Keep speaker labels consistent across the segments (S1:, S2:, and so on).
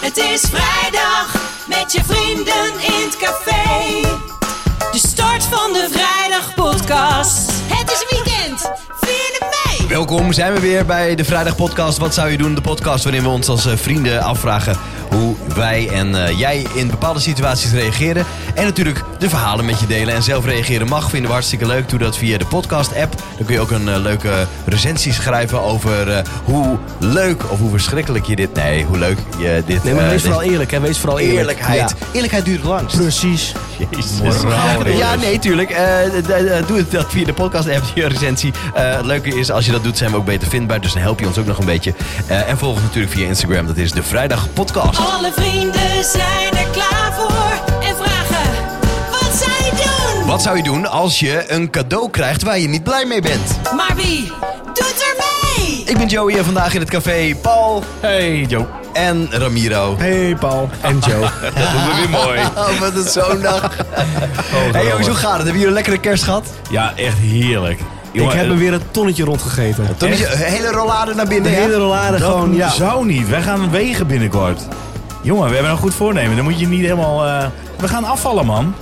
S1: Het is vrijdag met je vrienden in het café. De start van de vrijdag podcast. Het is weekend. Vier mei.
S2: Welkom, zijn we weer bij de Vrijdag Podcast. Wat zou je doen? De podcast waarin we ons als eh, vrienden afvragen hoe wij en eh, jij in bepaalde situaties reageren. En natuurlijk de verhalen met je delen. En zelf reageren mag, vinden we hartstikke leuk. Doe dat via de podcast-app. Dan kun je ook een eh, leuke recensie schrijven over eh, hoe leuk of hoe verschrikkelijk je dit... Nee, hoe leuk je dit...
S3: Nee, maar
S2: eh,
S3: wees
S2: dit-
S3: vooral eerlijk, hè? Wees vooral eerlijk.
S2: Eerlijkheid.
S3: Ja.
S2: Eerlijkheid duurt het langst.
S3: Precies.
S2: Jezus. Ja, nee, tuurlijk. Eh, d- d- doe het dat via de podcast-app, je recensie. Eh, het leuke is, als je dat doet, zijn we ook beter vindbaar. Dus dan help je ons ook nog een beetje. Eh, en volg ons natuurlijk via Instagram. Dat is de Vrijdag Podcast.
S1: Alle vrienden zijn er klaar voor. En vragen, wat zij doen?
S2: Wat zou je doen als je een cadeau krijgt waar je niet blij mee bent?
S1: Maar wie doet er mee?
S2: Ik ben Joey en vandaag in het café Paul
S3: Hey, Joe.
S2: en Ramiro.
S3: Hey, Paul. En Joe.
S4: Dat doen we weer mooi.
S2: Oh, wat een zo'n dag. hey jongens, hoe gaat het? Hebben jullie een lekkere kerst gehad?
S4: Ja, echt heerlijk.
S3: Ik
S4: Jongen,
S3: heb er
S4: eh,
S3: weer een tonnetje rondgegeven.
S2: Toen is je hele rollade naar
S3: De
S2: binnen,
S3: hele
S2: hè?
S3: rollade
S4: dat
S3: gewoon, ja.
S4: zou niet. Wij gaan wegen binnenkort. Jongen, we hebben een goed voornemen. Dan moet je niet helemaal... eh, We gaan afvallen, man.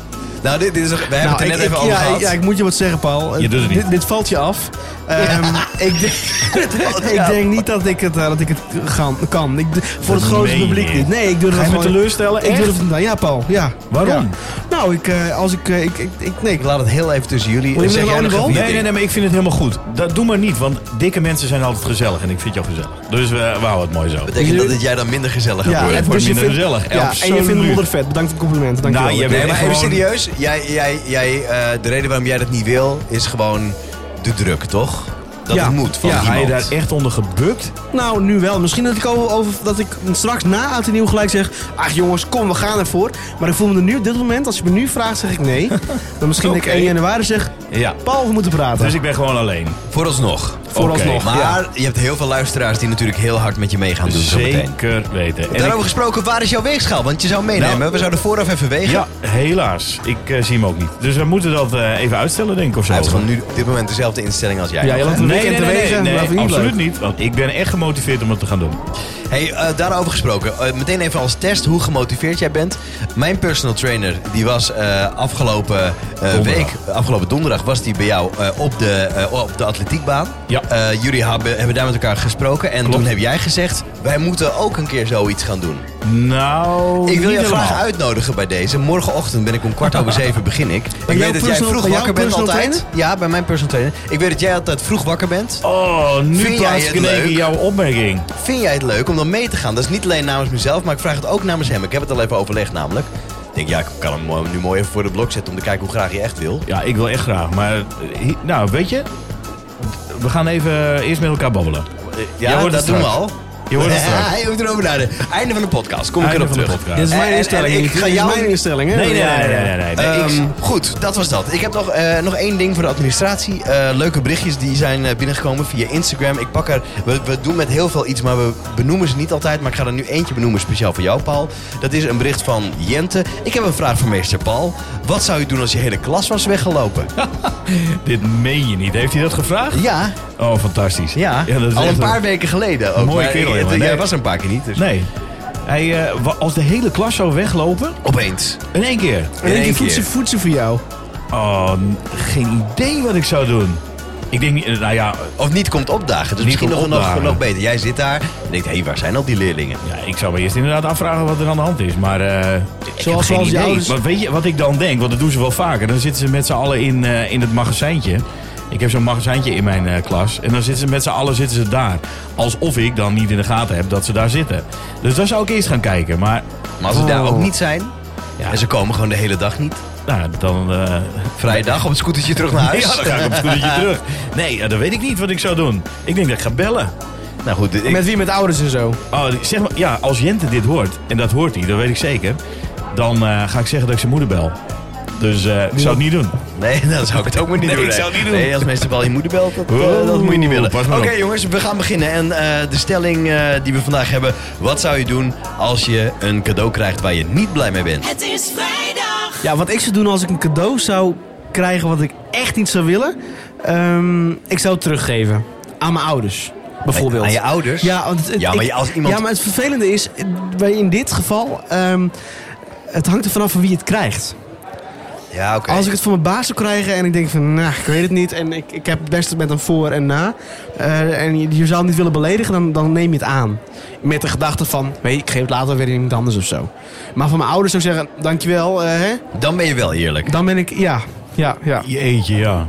S2: Nou, dit, dit is, we hebben
S3: Nou,
S2: het er net
S3: ik,
S2: even
S3: ik,
S2: over
S3: ja,
S2: gehad.
S3: ik, ja, ik moet je wat zeggen, Paul.
S4: Je doet het niet.
S3: Dit, dit valt je af. Ehm, ik, denk, ik denk niet dat ik het, eh, dat ik het gaan, kan. Ik, d- voor het
S4: Dat
S3: grote
S4: meen je
S3: publiek
S4: niet.
S3: niet. Nee, ik durf
S4: Ga
S3: het
S4: je me
S3: gewoon-
S4: teleurstellen?
S3: Ik
S4: Echt?
S3: durf het niet. Ja, Paul. Ja.
S4: Waarom?
S3: Ja. Nou, ik, eh, als ik, eh, ik, ik, ik... Nee, ik
S2: Ik laat het heel even tussen jullie.
S3: Wil je
S2: Zeg
S3: met een
S2: jij nog
S3: oliebol?
S2: even je
S4: Nee,
S2: ding?
S4: nee, nee, maar ik vind het helemaal goed. Dat doe maar niet, want dikke mensen zijn altijd gezellig. En ik vind jou gezellig. Dus eh, we houden het mooi zo.
S2: Betekent dat dat jij dan minder gezellig gaat
S3: Ja,
S2: worden?
S4: het
S3: dus
S4: wordt
S3: je
S4: minder
S3: vindt-
S4: gezellig.
S3: Ja, en je vindt
S4: Absoluut.
S3: de modder vet. Bedankt voor het compliment. Dankjewel.
S4: Nou, je
S3: Ik-
S2: Nee, maar even
S4: gewoon-
S2: serieus. Jij, jij, jij, eh, de reden waarom jij dat niet wil, is gewoon de druk, toch? Dat
S3: Ja.
S2: het moet van
S3: Ja,
S4: Ga je
S2: iemand.
S4: daar echt onder gebukt?
S3: Nou, nu wel. Misschien dat ik, over, over- dat ik straks na Oud en Nieuw gelijk zeg... Ach jongens, kom, we gaan ervoor. Maar ik voel me er nu op dit moment, als je me nu vraagt, zeg ik nee. Dan misschien dat
S4: Oké.
S3: ik 1 januari zeg...
S4: Ja.
S3: Paul, we moeten praten.
S4: Dus ik ben gewoon alleen.
S2: Vooralsnog.
S3: Vooralsnog,
S2: Oké,
S3: ja.
S2: Maar je hebt heel veel luisteraars die natuurlijk heel hard met je mee gaan doen zometeen.
S4: Zeker weten. En
S2: Daarover
S4: ik-
S2: gesproken, waar is jouw weegschaal? Want je zou meenemen.
S4: Nou,
S2: we zouden vooraf even wegen.
S4: ja, helaas. Ik eh, zie hem ook niet. Dus we moeten dat eh, even uitstellen, denk ik, of zo.
S2: Hij heeft gewoon nu op dit moment dezelfde instelling als jij.
S3: Ja, je loopt een weekend te wegen.
S4: nee,
S3: maar vind ik niet
S4: absoluut
S3: leuk.
S4: niet. Want ik ben echt gemotiveerd om het te gaan doen.
S2: Hey, eh, daarover gesproken. Eh, meteen even als test hoe gemotiveerd jij bent. Mijn personal trainer die was eh, afgelopen eh,
S4: Donderdag.
S2: week, afgelopen donderdag, was die bij jou eh, op, de, eh, op de atletiekbaan.
S4: Ja.
S2: Eh, jullie hebben, hebben daar met elkaar gesproken en
S4: Klopt.
S2: toen heb jij gezegd, wij moeten ook een keer zoiets gaan doen.
S4: Nou,
S2: ik wil
S4: niet
S2: je graag
S4: helemaal.
S2: uitnodigen bij deze. Morgenochtend ben ik om kwart over zeven begin ik.
S3: Bij
S2: ik
S3: jouw
S2: weet dat jij
S3: personal-
S2: vroeg
S3: bij jouw
S2: wakker bent
S3: personal
S2: altijd. Ja, bij mijn personal trainer. Ik weet dat jij altijd vroeg wakker bent.
S4: Oh, nu
S2: Vind jij
S4: plaats ik
S2: het
S4: in één
S2: leuk?
S4: keer jouw opmerking.
S2: Vind jij het leuk om dan mee te gaan? Dat is niet alleen namens mezelf, maar ik vraag het ook namens hem. Ik heb het al even overlegd namelijk. Ik denk, ja, ik kan hem mooi- nu mooi even voor de blok zetten om te kijken hoe graag je echt wil.
S4: Ja, ik wil echt graag. Maar, eh, hi- nou, weet je... We gaan even eerst met elkaar babbelen.
S2: Eh, Ja,
S4: Jij
S2: dat
S4: hoort het
S2: doen we
S4: straks.
S2: al.
S4: Je hoort het
S2: Ja,
S4: straks.
S2: je moet erover nadenken. Einde van de podcast, kom ik
S4: Einde
S2: erop
S4: van de
S2: terug.
S4: podcast.
S3: Dit is
S2: En-
S3: mijn
S2: en-
S3: instelling.
S2: en ik
S3: Dit
S2: ga
S3: is
S2: jou-
S3: mijn instelling, hè?
S4: Nee, nee, nee, nee, nee. nee.
S2: Ehm,
S4: eh, ik,
S2: goed, dat was dat. Ik heb nog, eh, nog één ding voor de administratie. Eh, leuke berichtjes die zijn eh, binnengekomen via Instagram. Ik pak er, we, we doen met heel veel iets, maar we benoemen ze niet altijd. Maar ik ga er nu eentje benoemen, speciaal voor jou, Paul. Dat is een bericht van Jente. Ik heb een vraag voor meester Paul. Wat zou je doen als je hele klas was weggelopen?
S4: dit meen je niet. Heeft hij dat gevraagd?
S2: Ehm, Ja,
S4: Oh, fantastisch.
S2: ja.
S4: dat is
S2: al een
S4: echt
S2: paar weken geleden ook.
S4: Mooie
S2: maar
S4: kerel,
S2: ik-
S4: jongen.
S2: het- Jij
S4: Nee.
S2: was er een paar keer niet, dus
S4: Nee. Hij, eh, wa- als de hele klas zou weglopen,
S2: opeens.
S4: in één keer.
S3: En
S2: één
S3: ik
S2: keer.
S3: voedsel, voedsel voor jou.
S4: Oh, n- geen idee wat ik zou doen. Ik denk niet, eh, nou ja,
S2: Of niet komt opdagen. Dus
S4: Niet
S2: misschien nog,
S4: komt
S2: nog,
S4: opdagen.
S2: nog beter. Jij zit daar en denkt, hé, waar zijn al die leerlingen?
S4: Ja, ik zou me eerst inderdaad afvragen wat er aan de hand is. Maar eh, ik
S3: Zoals-
S4: heb geen
S3: zoals die
S4: idee.
S3: ouders-
S4: Maar weet je wat ik dan denk? Want dat doen ze wel vaker. Dan zitten ze met z'n allen in, eh, in het magazijntje. Ik heb zo'n magazijntje in mijn eh, klas. En dan zitten ze met z'n allen zitten ze daar. Alsof ik dan niet in de gaten heb dat ze daar zitten. Dus daar zou ik eerst gaan kijken. Maar
S2: Maar als ze daar ook niet zijn,
S4: ja,
S2: en ze komen gewoon de hele dag niet.
S4: nou, dan... eh
S2: Vrijdag op het scootertje terug naar huis.
S4: ja, dan ga ik op het scootertje terug. Nee, ja, dat weet ik niet wat ik zou doen. Ik denk dat ik ga bellen.
S2: Nou goed, ik-
S3: Met wie? Met ouders en zo.
S4: Oh, zeg maar, ja, als Jente dit hoort, en dat hoort hij, dat weet ik zeker, dan eh, ga ik zeggen dat ik zijn moeder bel. Dus eh, ik zou het niet doen.
S2: nee, dan zou ik het ook maar niet
S4: Nee,
S2: doen.
S4: ik
S2: hè.
S4: zou het niet doen.
S2: Nee, als mensen wel je moeder belt, dat, eh,
S4: Oeh,
S2: dat moet je niet willen.
S4: pas
S2: Oké
S4: maar op.
S2: jongens, we gaan beginnen. En eh, de stelling eh, die we vandaag hebben. Wat zou je doen als je een cadeau krijgt waar je niet blij mee bent?
S1: Het is vrijdag.
S3: Ja, wat ik zou doen als ik een cadeau zou krijgen wat ik echt niet zou willen... ehm, ik zou het teruggeven aan mijn ouders. bijvoorbeeld.
S2: Aan je ouders?
S3: Ja, want het- het-
S2: Ja, maar je- als iemand-
S3: ja, maar het vervelende is, eh, bij- in dit geval, ehm, het hangt er vanaf van wie het krijgt.
S2: Ja, oké.
S3: Als ik het van mijn baas zou krijgen en ik denk van, nou, ik weet het niet. En ik, ik heb het beste met een voor en na. eh, en je, je zou hem niet willen beledigen, dan, dan neem je het aan. Met de gedachte van, weet je, ik geef het later weer aan iemand anders of zo. Maar van mijn ouders zou ik zeggen, dankjewel, eh, hè.
S2: Dan ben je wel eerlijk.
S3: Dan ben ik, ja, ja, ja.
S4: Jeetje, ja.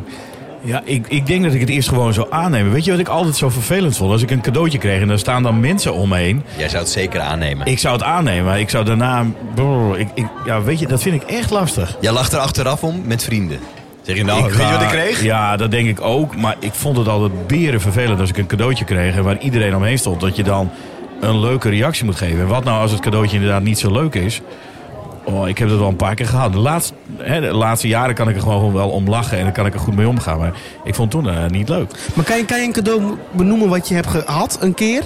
S4: Ja, ik, ik denk dat ik het eerst gewoon zou aannemen. Weet je wat ik altijd zo vervelend vond? Als ik een cadeautje kreeg en daar staan dan mensen om me heen.
S2: Jij zou het zeker aannemen.
S4: Ik zou het aannemen, maar ik zou daarna... brrr, ik, ik, ja, weet je, dat vind ik echt lastig.
S2: Jij lacht er achteraf om met vrienden. Zeg je nou, weet je wat ik
S4: ga-
S2: kreeg?
S4: Ja, dat denk ik ook. Maar ik vond het altijd beren vervelend als ik een cadeautje kreeg... en waar iedereen omheen stond, dat je dan een leuke reactie moet geven. En wat nou als het cadeautje inderdaad niet zo leuk is? Oh, ik heb dat al een paar keer gehad. De laatste, hè, de laatste jaren kan ik er gewoon wel om lachen... en dan kan ik er goed mee omgaan. Maar ik vond het toen eh, niet leuk.
S3: Maar kan je, kan je een cadeau benoemen wat je hebt gehad een keer,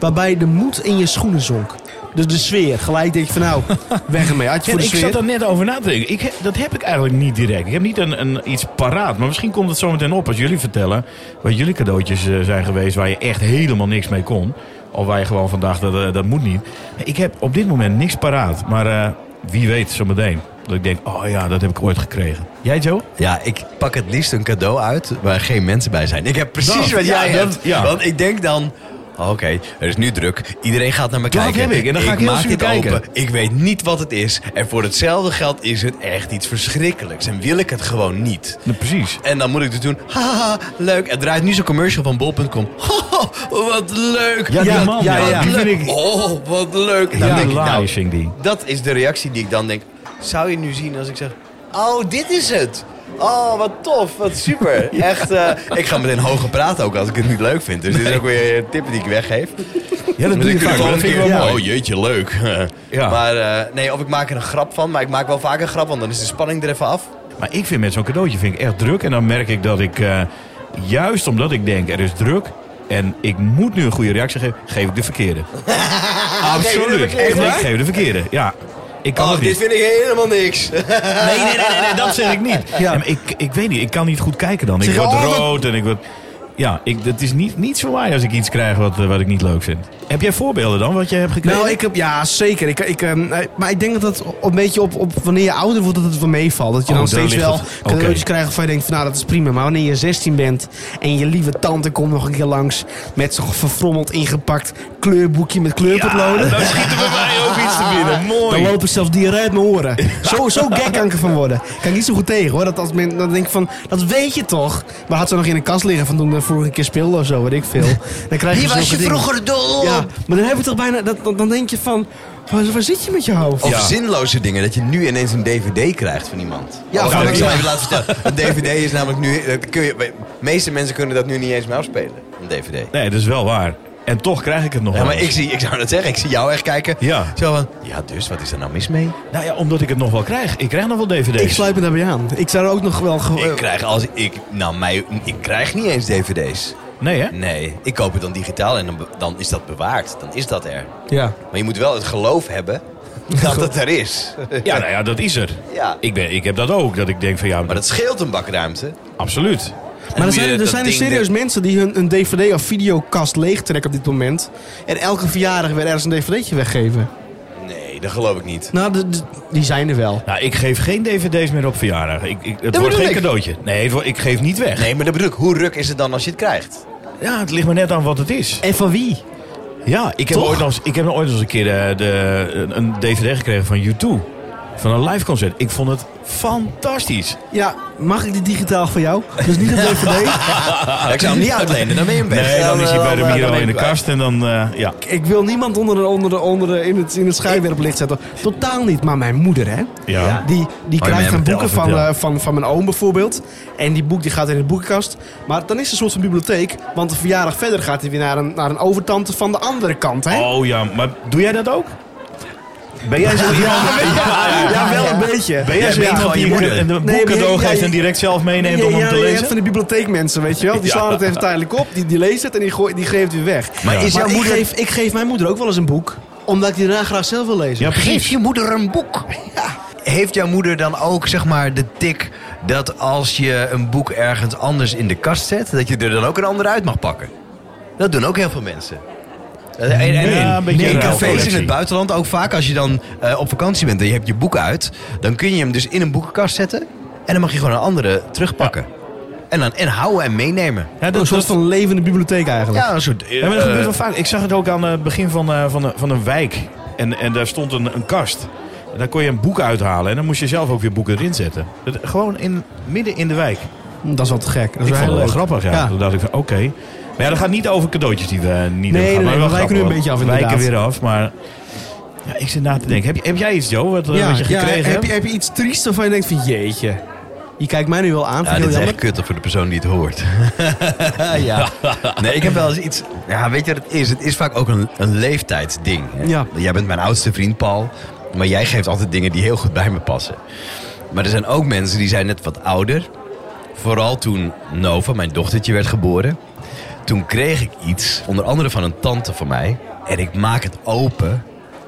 S3: waarbij de moed in je schoenen zonk? Dus de sfeer, gelijk denk je van nou, weg ermee. Had je
S4: Ja,
S3: voor de
S4: ik zat
S3: sfeer?
S4: er net over na te denken. Ik, he- dat heb ik eigenlijk niet direct. Ik heb niet een, een, iets paraat. Maar misschien komt het zo meteen op als jullie vertellen... wat jullie cadeautjes eh, zijn geweest waar je echt helemaal niks mee kon. Of waar je gewoon van dacht, dat, eh, dat moet niet. Ik heb op dit moment niks paraat. Maar eh, wie weet zo meteen. Dat ik denk, oh ja, dat heb ik ooit gekregen. Jij Joe?
S2: Ja, ik pak het liefst een cadeau uit waar geen mensen bij zijn. Ik heb precies
S4: Dat,
S2: wat
S4: ja,
S2: jij
S4: dat-
S2: hebt.
S4: ja.
S2: Want ik denk dan... oh, Oké, er is nu druk. Iedereen gaat naar me
S4: Dat
S2: kijken.
S4: heb ik en dan ga ik heel
S2: maak
S4: zuur
S2: dit
S4: kijken.
S2: open. Ik weet niet wat het is. En voor hetzelfde geld is het echt iets verschrikkelijks. En wil ik het gewoon niet.
S4: Nou, precies.
S2: En dan moet ik er doen. Haha, leuk. Er draait nu zo'n commercial van bol.com. Ho, ho, wat leuk.
S4: Ja, die
S2: Wat-
S4: man, ja,
S2: wat
S4: die
S2: leuk.
S4: vind ik-
S2: Oh, wat leuk. Dan
S4: Ja,
S2: denk ik, nou,
S4: lies ging die.
S2: dat is de reactie die ik dan denk. Zou je nu zien als ik zeg. Oh, dit is het. Oh, wat tof. Wat super. Echt. eh, ik ga meteen hoger praten ook als ik het niet leuk vind. Dus dit is ook weer een tip die ik weggeef.
S4: Ja, dat
S2: Dus
S4: doe je
S2: ik doe
S4: vaak.
S2: gewoon
S4: Dat
S2: een
S4: vind ik
S2: keer, ja,
S4: wel mooi.
S2: Oh jeetje, leuk.
S4: Ja.
S2: Maar eh, nee, of ik maak er een grap van. Maar ik maak wel vaak een grap, want dan is de spanning er even af.
S4: Maar ik vind met zo'n cadeautje vind ik echt druk. En dan merk ik dat ik, eh, juist omdat ik denk er is druk en ik moet nu een goede reactie geven, geef ik de verkeerde. Absoluut.
S2: verkeerde?
S4: Echt, ik
S2: Echt waar?
S4: geef de verkeerde. Ja. Ik kan
S2: Oh,
S4: het
S2: dit
S4: niet.
S2: vind ik helemaal niks.
S4: Nee, nee, nee, nee, nee, dat zeg ik niet.
S3: Ja.
S4: Ja. maar ik, ik weet niet, ik kan niet goed kijken dan. Ik
S3: Zeg je,
S4: word
S3: oh, dat-
S4: rood en ik word... Ja, ik, dat is niet, niet zo waar als ik iets krijg wat, eh, wat ik niet leuk vind. Heb jij voorbeelden dan, wat je hebt gekregen?
S3: Nou, ik heb, ja, zeker. Ik, ik, ehm, eh, maar ik denk dat dat een beetje op, op wanneer je ouder wordt, dat het wel meevalt. Dat je
S4: Oh,
S3: dan
S4: daar
S3: steeds
S4: ligt
S3: wel
S4: het. Oké.
S3: cadeautjes krijgt waarvan je denkt van nou, dat is prima. Maar wanneer je 16 bent en je lieve tante komt nog een keer langs met zo'n verfrommeld ingepakt kleurboekje met kleurpotloden.
S4: Dan schieten bij mij ook iets te binnen.
S3: Dan
S4: Mooi.
S3: lopen ze zelfs dieren uit mijn oren. Zo, zo gek kan ik ervan worden. Kan ik niet zo goed tegen hoor. Dat als men, dan denk ik van, dat weet je toch? Maar had ze nog in een kast liggen van toen we vorige keer speelden of zo, weet ik veel. Dan krijg je zulke dingen.
S2: dol
S3: Ja, maar dan heb je toch bijna, dat, dan, dan denk je van, waar, waar zit je met je hoofd?
S2: Of
S4: Ja.
S2: zinloze dingen, dat je nu ineens een dvd krijgt van iemand.
S3: Ja,
S2: of
S3: van
S2: dat ik
S3: een-
S2: zal even laten vertellen. Een dvd is namelijk nu... dat Kun je, de meeste mensen kunnen dat nu niet eens meer afspelen, een dvd.
S4: Nee, dat is wel waar. En toch krijg ik het nog
S2: Ja,
S4: wel
S2: maar
S4: eens.
S2: ik, zie, ik zou dat zeggen, ik zie jou echt kijken.
S4: Ja.
S2: Zo van, ja dus, wat is er nou mis mee?
S4: Nou ja, omdat ik het nog wel krijg. Ik krijg nog wel dvd's.
S3: Ik sluit me daarbij aan. Ik zou er ook nog wel... ge-
S2: Ik krijg als ik... Nou, mij, ik krijg niet eens dvd's.
S4: Nee, hè?
S2: Nee, ik koop het dan digitaal en dan, be- dan is dat bewaard. Dan is dat er.
S3: Ja.
S2: Maar je moet wel het geloof hebben dat het er is.
S4: Ja, nou ja, dat is er.
S2: Ja.
S4: Ik, ben, ik heb dat ook, dat ik denk van ja,
S2: Maar dat scheelt een bakruimte.
S4: absoluut.
S3: Maar er
S2: moet
S3: zijn
S2: je
S3: er,
S2: dat
S3: zijn er
S2: ding
S3: serieus
S2: er-
S3: mensen die hun een dvd of videokast leegtrekken op dit moment. En elke verjaardag weer ergens een dvd'tje weggeven.
S2: Nee, dat geloof ik niet.
S3: Nou, de- de- die zijn er wel.
S4: Nou, ik geef geen dvd's meer op verjaardag. Ik, ik, het
S2: bedoel
S4: wordt geen
S2: ik.
S4: cadeautje. Nee, het wordt- ik geef niet weg.
S2: Nee, maar dat bedoel ik, hoe ruk is het dan als je het krijgt?
S4: Ja, het ligt maar net aan wat het is.
S3: En van wie?
S4: Ja, ik heb,
S3: Toch?
S4: ooit nog, eens- ik heb nog ooit nog eens een keer eh, de, een- een dvd gekregen van U2. Van een live concert. Ik vond het fantastisch.
S3: Ja, mag ik die digitaal van jou? Dus niet op DVD.
S2: Ja, ik zou hem niet uitlenen, dan ben je hem weg.
S4: Ah, Nee, dan is hij bij de
S2: eh, dan-
S4: Miro
S2: dan ben
S4: in de
S2: ik kwijt.
S4: kast en dan, eh, ja.
S3: ik wil niemand onder, de- onder, de- onder de- in het, in het schijnwerplicht zetten. Totaal niet. Maar mijn moeder, hè?
S4: Ja.
S3: Die, die
S4: Oh, je
S3: krijgt dan
S4: bent vertel,
S3: boeken van,
S4: vertel.
S3: eh, van, van mijn oom bijvoorbeeld. En die boek die gaat in de boekenkast. Maar dan is er een soort van bibliotheek. Want de verjaardag verder gaat hij weer naar een, naar een overtante van de andere kant, hè?
S4: Oh ja, maar doe jij dat ook? Ben jij zo iemand?
S3: ja, wel een beetje.
S4: Ben jij zo
S3: Ja,
S4: iemand
S3: gewoon
S4: die
S3: je
S4: je
S3: moeder.
S4: een een
S3: Nee,
S4: boek cadeau
S3: maar je-
S4: geeft
S3: ja,
S4: en
S3: je-
S4: direct zelf meeneemt
S3: Ja,
S4: om hem
S3: ja,
S4: te
S3: je hebt
S4: lezen?
S3: van de bibliotheekmensen, weet je wel. Die
S4: Ja.
S3: slaan het even tijdelijk op, die, die lezen het en die, gooi, die geeft het weer weg.
S4: Maar is
S2: jouw
S3: ik,
S2: moeder-
S3: geef, ik geef mijn moeder ook wel eens een boek, omdat ik die daarna graag zelf wil lezen.
S4: Ja, precies.
S2: je moeder een boek. Heeft jouw moeder dan ook zeg maar de tik dat als je een boek ergens anders in de kast zet, dat je er dan ook een ander uit mag pakken? Dat doen ook heel veel mensen. Eh, En, en- en-
S4: Ja, een beetje
S2: in
S4: een
S2: cafés in
S4: ruilcollectie.
S2: het buitenland ook vaak. Als je dan eh, op vakantie bent en je hebt je boek uit... dan kun je hem dus in een boekenkast zetten... en dan mag je gewoon een andere terugpakken. En, dan, en houden en meenemen.
S4: Ja,
S3: Een
S4: dat,
S3: soort
S4: dat,
S3: van levende bibliotheek eigenlijk.
S2: Ja, een soort... eh,
S4: ja, maar dat gebeurt wel
S2: eh,
S4: vaak. Ik zag het ook aan eh, het begin van, eh, van, een- van een wijk. En, en daar stond een, een kast. En daar kon je een boek uithalen. En dan moest je zelf ook weer boeken erin zetten. Dat- gewoon in, midden in de wijk.
S3: Dat is wel te gek. Dat is
S4: ik vond het
S3: heel
S4: wel
S3: leuk.
S4: grappig. Ja.
S3: Ja.
S4: Toen dacht ik van oké. Maar ja, dat gaat niet over cadeautjes die we eh,
S3: Nee,
S4: niet hebben.
S3: nee, nee,
S4: maar wel
S3: we wijken nu
S4: grappig,
S3: een beetje af,
S4: hoor.
S3: inderdaad.
S4: Wijken weer af. Maar ja, ik zit na te denken. Heb, je- heb jij iets Joe wat, eh,
S3: Ja,
S4: wat je
S3: ja,
S4: gekregen hebt?
S3: heb, je, heb je iets triest waarvan je denkt van jeetje. Je kijkt mij nu wel aan.
S2: Ja,
S3: vind ik
S2: dit is
S3: heel
S2: echt
S3: jammer.
S2: kut voor de persoon die het hoort. ja. Nee, ik heb wel eens iets... Ja, weet je wat het is? Het is vaak ook een, een leeftijdsding. hè.
S3: Ja.
S2: Jij bent mijn oudste vriend, Paul. Maar jij geeft altijd dingen die heel goed bij me passen. Maar er zijn ook mensen die zijn net wat ouder. Vooral toen Nova, mijn dochtertje, werd geboren. Toen kreeg ik iets, onder andere van een tante van mij. En ik maak het open.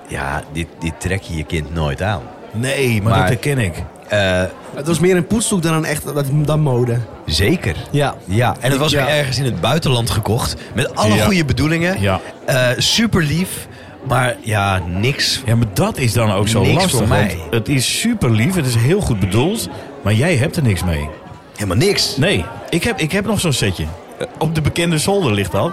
S2: Ja, dit, dit trek je je kind nooit aan.
S4: Nee, maar,
S2: Maar-
S4: dat herken ik.
S2: Eh,
S3: Het was meer een poetsdoek dan een echt dat, dan mode.
S2: zeker.
S3: Ja.
S2: Ja, en het was
S3: Ja.
S2: ook ergens in het buitenland gekocht. Met alle
S4: Ja.
S2: goede bedoelingen.
S4: Ja.
S2: super lief. Maar ja, niks.
S4: Ja, maar dat is dan ook zo
S2: Niks
S4: lastig.
S2: voor mij.
S4: want het is super lief, het is heel goed bedoeld, maar jij hebt er niks mee.
S2: Helemaal niks.
S4: Nee, ik heb, ik heb nog zo'n setje. Eh, Op de bekende zolder ligt dat.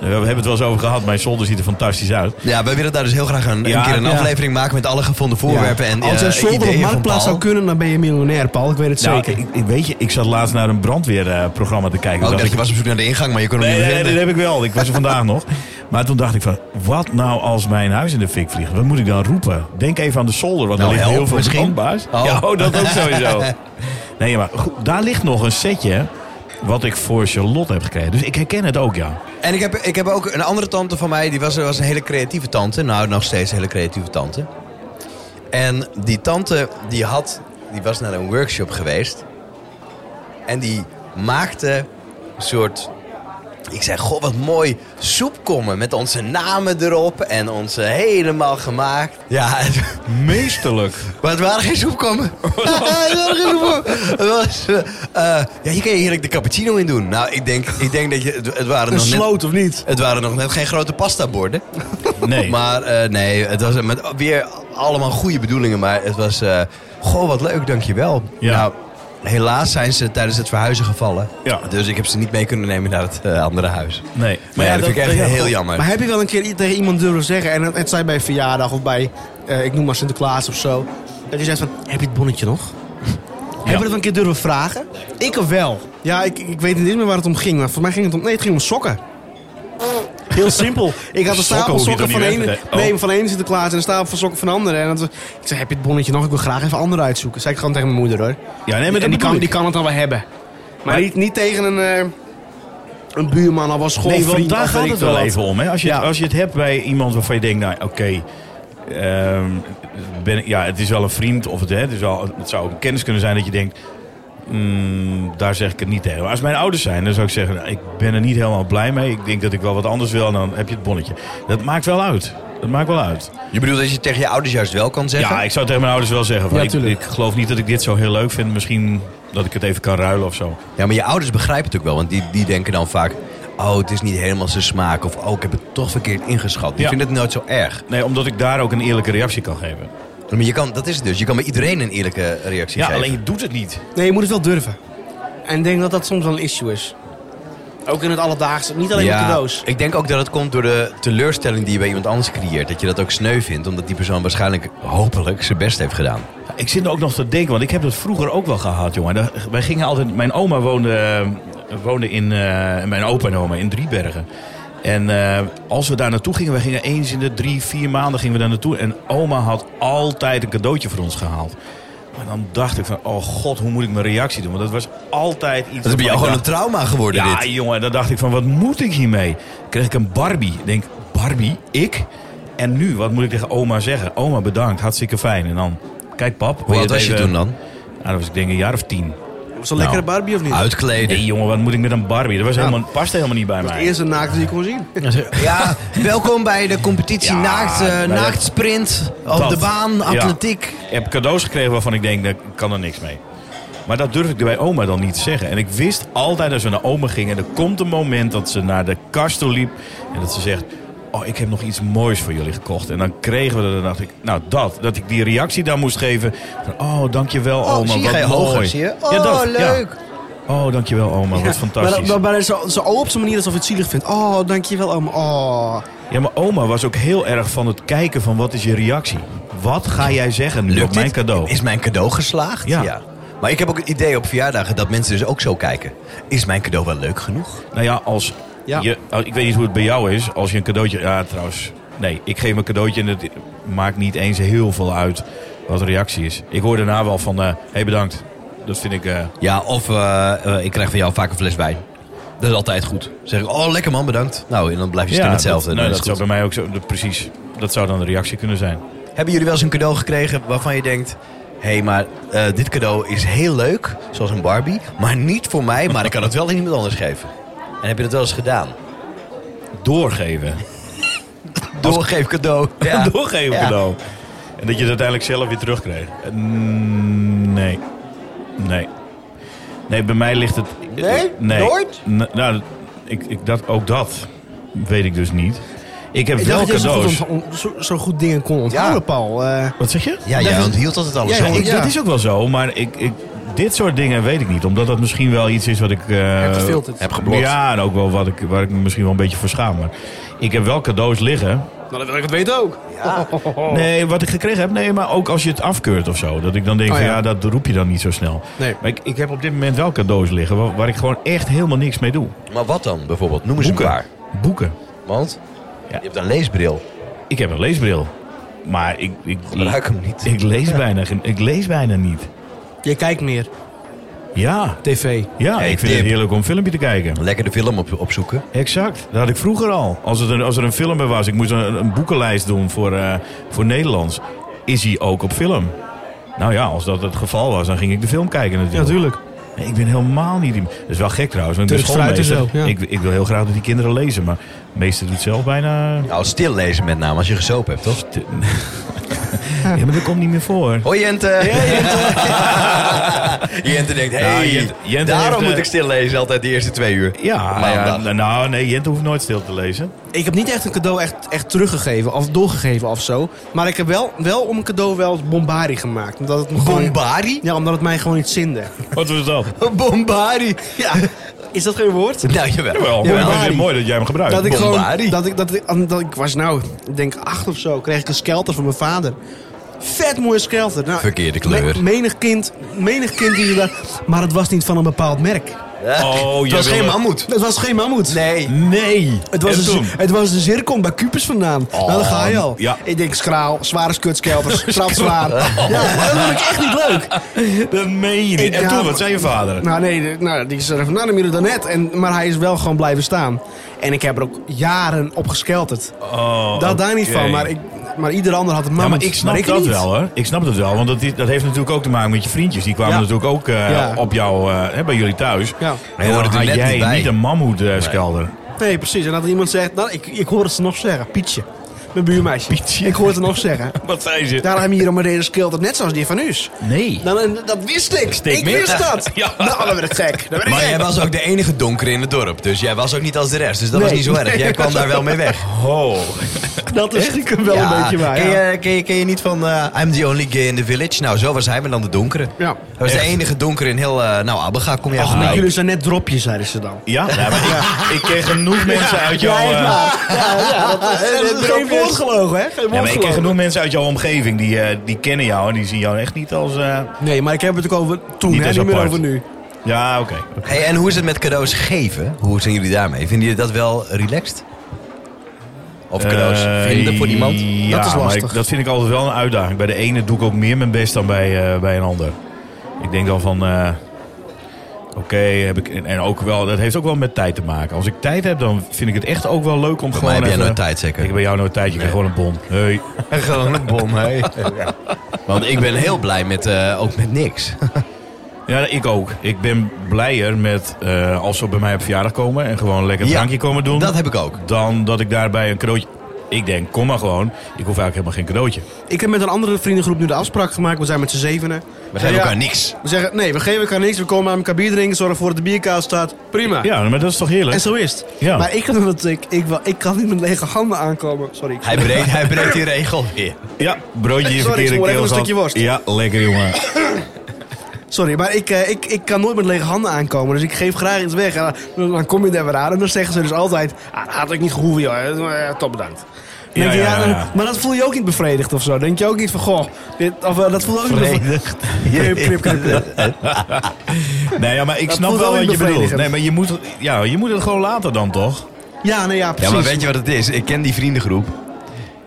S4: Eh, We hebben het wel eens over gehad, mijn zolder ziet er fantastisch uit.
S2: Ja, wij willen daar dus heel graag een,
S4: Ja,
S2: een keer een
S4: ja.
S2: aflevering maken met alle gevonden voorwerpen. En,
S3: Als
S2: eh,
S3: jij zolder op
S2: ideeën van
S3: marktplaats
S2: Paul.
S3: zou kunnen, dan ben je miljonair, Paul. Ik weet het
S4: Nou,
S3: zeker.
S4: ik, ik- weet je, ik zat laatst naar een brandweerprogramma te kijken.
S2: Oh, ik
S4: Dacht
S2: dacht, je
S4: ik,
S2: was op zoek naar de ingang, maar je kon hem
S4: nee,
S2: niet meer
S4: nee, nee,
S2: vinden.
S4: dat heb ik wel. Ik was er vandaag nog. Maar toen dacht ik van, wat nou als mijn huis in de fik vliegt? Wat moet ik dan roepen? Denk even aan de zolder, want
S2: Nou,
S4: daar ligt heel
S2: help
S4: veel
S2: misschien.
S4: brandbaars.
S2: Oh.
S4: Ja, oh, dat ook sowieso. Nee, maar goed, daar ligt nog een setje wat ik voor Charlotte heb gekregen. Dus ik herken het ook, ja.
S2: En ik heb, ik heb ook een andere tante van mij, die was, was een hele creatieve tante. Nou, nog steeds een hele creatieve tante. En die tante, die had, die was naar een workshop geweest. En die maakte een soort, ik zei, goh, wat mooi soepkommen met onze namen erop en onze helemaal gemaakt. Ja, het-
S4: Meesterlijk.
S2: maar het waren geen soepkommen. het waren geen soepkommen. Het was, eh, eh, ja, hier kun je heerlijk de cappuccino in doen. Nou, ik denk, ik denk dat je, het, het waren
S3: een
S2: nog net...
S3: sloot of niet?
S2: Het waren nog net geen grote pastaborden.
S4: Nee.
S2: Maar eh, nee, het was met weer allemaal goede bedoelingen. Maar het was, eh goh, wat leuk, dankjewel.
S4: Ja.
S2: Nou, helaas zijn ze tijdens het verhuizen gevallen.
S4: Ja.
S2: Dus ik heb ze niet mee kunnen nemen naar het eh, andere huis. Maar
S4: nee.
S2: ja, dat, vind ik echt
S3: ja,
S2: heel
S3: god.
S4: Nou,
S2: jammer.
S3: Maar heb je wel een keer i- tegen iemand durven zeggen, en het, het zij bij een verjaardag of bij, eh, ik noem maar Sinterklaas of zo, dat je zegt van, heb je het bonnetje nog? Heb je dat wel een keer durven vragen? Ik wel. Ja, ik, ik weet niet eens meer waar het om ging, maar voor mij ging het om, nee, het ging om sokken. Heel simpel. Ik had een
S4: Sokken
S3: stapel
S4: hoef je toch
S3: sokken van
S4: niet
S3: de
S4: weg te
S3: ene,
S4: doen? Oh.
S3: nee, van de ene Sinterklaas en een stapel van sokken van de andere. En dat, was- ik zei, heb je het bonnetje nog? Ik wil graag even andere uitzoeken. Zei ik gewoon tegen mijn moeder hoor.
S4: Ja, nee, maar
S3: en
S4: dat
S3: die
S4: bedoel
S3: kan,
S4: ik.
S3: die kan het dan wel hebben. Maar,
S4: Maar-
S3: niet, niet tegen een, eh, een buurman, al was
S4: Nee,
S3: schoolvriend.
S4: want daar
S3: of
S4: gaat
S3: weet
S4: het
S3: ik
S4: wel
S3: wat.
S4: even om. Hè? Als, je,
S3: Ja.
S4: als je het hebt bij iemand waarvan je denkt, nou oké, ehm, ben ik- ja, het is wel een vriend of het, hè, het, is wel, het zou ook een kennis kunnen zijn dat je denkt, mm, daar zeg ik het niet tegen. Maar als mijn ouders zijn, dan zou ik zeggen, nou, ik ben er niet helemaal blij mee. Ik denk dat ik wel wat anders wil en dan heb je het bonnetje. Dat maakt wel uit. Dat maakt wel uit.
S2: Je bedoelt dat je tegen je ouders juist wel kan zeggen?
S4: Ja, ik zou tegen mijn ouders wel zeggen. Van,
S3: Ja,
S4: ik,
S3: tuurlijk.
S4: ik geloof niet dat ik dit zo heel leuk vind. Misschien dat ik het even kan ruilen of zo.
S2: Ja, maar je ouders begrijpen het ook wel. Want die, die denken dan vaak... Oh, het is niet helemaal zijn smaak. Of oh, ik heb het toch verkeerd ingeschat. Die
S4: Ja.
S2: vinden het nooit zo erg.
S4: Nee, omdat ik daar ook een eerlijke reactie kan geven.
S2: Maar je kan, dat is het dus. Je kan bij iedereen een eerlijke reactie
S4: Ja,
S2: geven.
S4: alleen je doet het niet.
S3: Nee, je moet het wel durven. En ik denk dat dat soms wel een issue is. Ook in het alledaagse, niet alleen met cadeaus.
S2: Ik denk ook dat het komt door de teleurstelling die je bij iemand anders creëert. Dat je dat ook sneu vindt, omdat die persoon waarschijnlijk hopelijk zijn best heeft gedaan.
S4: Ja, Ik zit er ook nog te denken, want ik heb dat vroeger ook wel gehad, jongen. Daar- Wij gingen altijd... Mijn oma woonde, eh, woonde in... eh, mijn opa en oma in Driebergen. En eh, als we daar naartoe gingen, wij gingen eens in de drie, vier maanden gingen we daar naartoe. En oma had altijd een cadeautje voor ons gehaald. Maar dan dacht ik van, oh god, hoe moet ik mijn reactie doen? Want dat was altijd iets...
S2: Dat is bij jou
S4: waarvan
S2: gewoon
S4: ik
S2: een trauma geworden,
S4: ja,
S2: dit.
S4: jongen, dan dacht ik van, wat moet ik hiermee? Kreeg ik een Barbie. Ik denk, Barbie? Ik? En nu, wat moet ik tegen oma zeggen? Oma, bedankt, hartstikke fijn. En dan, kijk pap.
S2: Hoe
S4: wil
S2: oud was je
S4: deze-
S2: toen dan?
S4: Nou, dat was ik denk een jaar of tien.
S3: Was dat een lekkere Barbie of niet?
S2: Uitkleden.
S4: Nee, jongen, wat moet ik met een Barbie? Dat was helemaal, paste helemaal niet bij
S3: Dat is
S4: mij.
S3: de eerste naakt die je kon zien.
S2: Ja, welkom bij de competitie
S4: Ja,
S2: naakt, eh,
S4: bij de-
S2: naaktsprint op
S4: Dat.
S2: de baan,
S4: Ja.
S2: atletiek.
S4: Ik heb cadeaus gekregen waarvan ik denk, daar kan er niks mee. Maar dat durfde ik bij oma dan niet te zeggen. En ik wist altijd als we naar oma gingen, er komt een moment dat ze naar de kast toe liep en dat ze zegt. Oh, ik heb nog iets moois voor jullie gekocht. En dan kregen we dat. En dacht ik, nou dat. Dat ik die reactie daar moest geven. Van, oh, dankjewel
S2: Oh,
S4: oma.
S2: zie je,
S4: wat
S2: ga je
S4: mooi.
S2: hoger, zie je? Oh,
S4: Ja, dat, ja.
S2: leuk.
S4: Oh, dankjewel oma. Wat
S3: Maar,
S4: fantastisch.
S3: maar, maar zo, zo op zijn manier alsof je het zielig vindt. Oh, dankjewel oma. Oh.
S4: Ja, maar oma was ook heel erg van het kijken van wat is je reactie. Wat ga jij zeggen nu
S2: Lukt
S4: op mijn
S2: dit?
S4: cadeau?
S2: Is mijn cadeau geslaagd?
S4: Ja.
S2: Maar ik heb ook het idee op verjaardagen dat mensen dus ook zo kijken. Is mijn cadeau wel leuk genoeg?
S4: Nou ja, als
S3: Ja.
S4: je... als- Ik weet niet hoe het bij jou is. Als je een cadeautje... Ja, trouwens. Nee, ik geef een cadeautje en het maakt niet eens heel veel uit wat de reactie is. Ik hoor daarna wel van... Hé, hey, bedankt. Dat vind ik... eh,
S2: Ja, of eh, eh, ik krijg van jou vaak een fles wijn. Dat is altijd goed. Dan zeg ik, oh lekker man, bedankt. Nou, en dan blijf je stem hetzelfde.
S4: Dat,
S2: Dan is
S4: nou, dat
S2: het
S4: zou
S2: goed.
S4: bij mij ook zo... dat- precies. Dat zou dan de reactie kunnen zijn.
S2: Hebben jullie wel eens een cadeau gekregen waarvan je denkt... Hé, hey, maar eh, dit cadeau is heel leuk, zoals een Barbie. Maar niet voor mij, maar ik kan het wel aan iemand anders geven. En heb je dat wel eens gedaan?
S4: Doorgeven.
S2: Doorgeef cadeau.
S4: Ja. Doorgeven
S2: Ja.
S4: cadeau. En dat je het uiteindelijk zelf weer terugkreeg. Eh, mm, Nee. Nee. Nee, bij mij ligt het...
S2: Nee? Nooit?
S4: N- nou, ik, ik, dat, ook dat weet ik dus niet. Ik heb
S3: Ik
S4: wel
S3: dacht dat je zo
S4: cadeaus.
S3: goed, ont- zo, zo goed dingen kon onthouden,
S2: Ja.
S3: Paul. Eh,
S4: Wat zeg je?
S2: Ja,
S3: Dat
S2: jij
S3: is-
S2: onthield altijd alles.
S3: Ja,
S2: hè?
S3: ik-
S2: Ik-
S4: Dat is ook wel zo, maar ik, ik, dit soort dingen weet ik niet. Omdat dat misschien wel iets is wat ik... eh,
S3: Heb gefilterd.
S2: Heb geblokt.
S4: Ja, en ook wel wat ik, waar ik me misschien wel een beetje voor schaam. Maar ik heb wel cadeaus liggen.
S3: nou, dan wil ik het weten ook.
S4: Nee, wat ik gekregen heb, nee, maar ook als je het afkeurt of zo. Dat ik dan denk,
S3: Oh,
S4: van,
S3: ja.
S4: ja, dat roep je dan niet zo snel.
S3: Nee.
S4: Maar ik, ik heb op dit moment wel cadeaus liggen waar, waar ik gewoon echt helemaal niks mee doe.
S2: Maar wat dan bijvoorbeeld? Noem eens
S4: Boeken.
S2: een paar.
S4: Boeken.
S2: Want
S4: Ja.
S2: je hebt een leesbril.
S4: Ik heb een leesbril. Maar ik, ik,
S2: Gebruik hem niet.
S4: ik lees, bijna, geen- ik lees bijna niet.
S3: Je kijkt meer.
S4: Ja,
S3: TV.
S4: ja
S2: Hey,
S4: ik vind
S2: Tim.
S4: het heerlijk om een filmpje te kijken.
S2: Lekker de film op, opzoeken.
S4: Exact, dat had ik vroeger al. Als, het een, als er een film er was, ik moest een, een boekenlijst doen voor, eh, voor Nederlands. Is hij ook op film? Nou ja, als dat het geval was, dan ging ik de film kijken natuurlijk.
S3: natuurlijk.
S4: Nee, ik ben helemaal niet... die- Dat is wel gek trouwens, want ik ben
S3: Turks fruit en
S4: schoolmeester.
S3: zo, ja.
S4: ik, ik wil heel graag dat die kinderen lezen, maar de meester doet zelf bijna...
S2: Nou, stillezen met name als je gesopen hebt, toch?
S4: Te- ja, maar dat komt niet meer voor.
S2: Hoi Jente! Jente denkt, hé,
S4: Nou, Jente- Jente
S2: daarom
S4: heeft,
S2: moet
S4: eh,
S2: ik stillezen altijd de eerste twee uur.
S4: Ja,
S2: Maandag.
S4: ja, nou nee, Jente hoeft nooit stil te lezen.
S3: Ik heb niet echt een cadeau echt, echt teruggegeven of doorgegeven of zo. Maar ik heb wel, wel om een cadeau wel bombari gemaakt. Omdat het me gewoon-
S2: Bombari?
S3: Ja, omdat het mij gewoon iets zinde.
S4: Wat was dat?
S2: Bombari!
S3: Ja, is dat geen woord?
S2: Nou, jawel.
S4: Jawel,
S3: Ja,
S4: dat is
S3: Harry.
S4: mooi dat jij hem gebruikt.
S3: Dat ik
S2: Bombari.
S3: gewoon. Dat ik, dat, ik, dat, ik, was nou, ik denk acht of zo, kreeg ik een skelter van mijn vader. Vet mooie skelter. Nou,
S2: Verkeerde kleur.
S3: me- menig kind, menig kind die je daar. Maar het was niet van een bepaald merk.
S4: Oh,
S2: het
S4: jij
S2: was
S4: wil-
S2: geen mammoet.
S3: Het was geen mammoet.
S2: Nee.
S4: Nee!
S3: Het was,
S4: En
S3: een,
S4: toen?
S3: zir- het was een zircon bij Cupus vandaan. nou, daar ga je al.
S4: ja.
S3: Ik denk schraal, zware skutskelters, schraal zwaar. Ja, dat vond ik echt niet leuk.
S4: Dat meen je niet.
S3: Ik-
S4: En
S3: ja,
S4: toen,
S3: maar-
S4: wat zei je vader?
S3: Nou nee, de- nou, die is er van, nou dan moet je dat net. En, maar hij is wel gewoon blijven staan. En ik heb er ook jaren op geskelterd.
S4: Oh,
S3: dat daar niet
S4: oké.
S3: van, maar, ik, maar ieder ander had het
S4: Ja,
S3: mammoet.
S4: maar ik snap dat
S3: niet.
S4: wel, hoor. Ik snap dat wel, want dat, dat heeft natuurlijk ook te maken met je vriendjes. Die kwamen
S3: Ja.
S4: natuurlijk ook eh,
S3: Ja.
S4: op jou, eh, hè, bij jullie thuis.
S3: Ja.
S4: En
S2: Hoorde
S4: dan
S2: er
S4: had
S2: net
S4: jij
S2: niet
S4: niet,
S2: bij.
S4: een eh, mammoet-skelder.
S3: Nee, precies. En dat iemand zegt, nou, ik, ik hoor het ze nog zeggen. Pietje, mijn buurmeisje. Ik hoor het ze nog zeggen.
S4: Wat zei ze?
S3: Daarom hebben we hier om een reden skelterd, net zoals die van u.
S4: Nee.
S3: Dan, en dat wist ik.
S4: Steek
S3: ik
S4: meer.
S3: wist dat.
S4: Ja.
S3: Nou, dan ben ik gek. Dan ben ik
S2: Maar
S3: gek.
S2: jij was ook de enige donker in het dorp. Dus jij was ook niet als de rest. Dus dat was
S3: Nee.
S2: niet zo erg. Jij
S3: Nee.
S2: kwam daar wel mee weg.
S4: Oh.
S3: Dat is stiekem wel een beetje waar.
S2: Ken,
S3: ja.
S2: je, ken, je, ken je niet van eh, I'm the only gay in the village? Nou, zo was hij, maar dan de donkere.
S3: Ja.
S2: Hij was de enige donkere in heel... eh, nou, Abbega kom jij
S3: Ach,
S2: vandaan.
S3: maar jullie zijn net dropjes, zeiden ze dan.
S4: Ja? Ja, maar ik, ik ken genoeg mensen uit jouw... eh,
S3: dat
S2: is geen
S3: is geen woord gelogen, hè? Geen
S4: ja, maar ik ken genoeg mensen uit jouw omgeving die, eh, die kennen jou en die zien jou echt niet als... eh,
S3: Nee, maar ik heb het ook over toen,
S4: Niet
S3: hè?
S4: als
S3: Niet meer
S4: apart.
S3: over nu.
S4: ja, oké.
S2: Hey, en hoe is het met cadeaus geven? Hoe zijn jullie daarmee? Vinden jullie dat wel relaxed? Of cadeaus
S4: Eh,
S2: vinden voor iemand?
S4: Ja,
S3: Dat is
S4: maar
S3: lastig.
S4: ik- dat vind ik altijd wel een uitdaging. Bij de ene doe ik ook meer mijn best dan bij, eh, bij een ander. Ik denk dan van... eh, Oké, heb ik... En, en ook wel, dat heeft ook wel met tijd te maken. Als ik tijd heb, dan vind ik het echt ook wel leuk
S2: Bij
S4: om
S2: mij
S4: gewoon
S2: heb jij
S4: even-
S2: nooit tijd, zeker?
S4: Ik heb bij jou nooit tijd, je krijgt gewoon een bon. Hey.
S2: Gewoon een bom, hé. Want ik ben heel blij met, eh, ook met niks.
S4: Ja, ik ook. Ik ben blijer met eh, als ze bij mij op verjaardag komen en gewoon lekker een
S2: Ja,
S4: drankje komen doen.
S2: Dat heb ik ook.
S4: Dan dat ik daarbij een cadeautje Ik denk, kom maar gewoon. Ik hoef eigenlijk helemaal geen cadeautje.
S3: Ik heb met een andere vriendengroep nu de afspraak gemaakt. We zijn met z'n zevenen.
S2: We geven elkaar niks.
S3: We zeggen, nee, we geven elkaar niks. We komen aan elkaar bier drinken, zorgen voor dat de bierkaas staat. Prima.
S4: Ja, maar dat is toch heerlijk?
S3: En zo is het.
S4: Ja.
S3: Maar ik, kan dat ik, ik, wel- ik kan niet met lege handen aankomen. Sorry.
S2: Hij breekt, hij breekt die regel weer.
S4: Ja, broodje in
S3: Sorry, ik
S4: verkeerde
S3: smoor even
S4: keelzand.
S3: een stukje worst.
S4: Ja, lekker jongen.
S3: Sorry, maar ik, eh, ik, ik kan nooit met lege handen aankomen. Dus ik geef graag iets weg. En dan, dan kom je daar weer aan. En dan zeggen ze dus altijd... Ah, had ik niet gehoeven, joh. Eh, eh, Top bedankt. Dan denk je,
S4: Ja, ja,
S3: ja, dan-
S4: ja.
S3: Maar dat voel je ook niet bevredigd of zo. Dan denk je ook niet van, goh, dit, of, eh, dat voel je ook niet bevredigd. Knip, knip, knip, knip.
S4: Nee, ja, maar ik
S3: Dat
S4: snap
S3: voelt
S4: wel
S3: wel
S4: wat je bedoelt.
S3: bevredigend.
S4: Nee, maar je moet, ja, je moet het gewoon later dan, toch?
S3: Ja, nee, ja,
S2: Ja,
S3: precies.
S2: maar weet je wat het is? Ik ken die vriendengroep.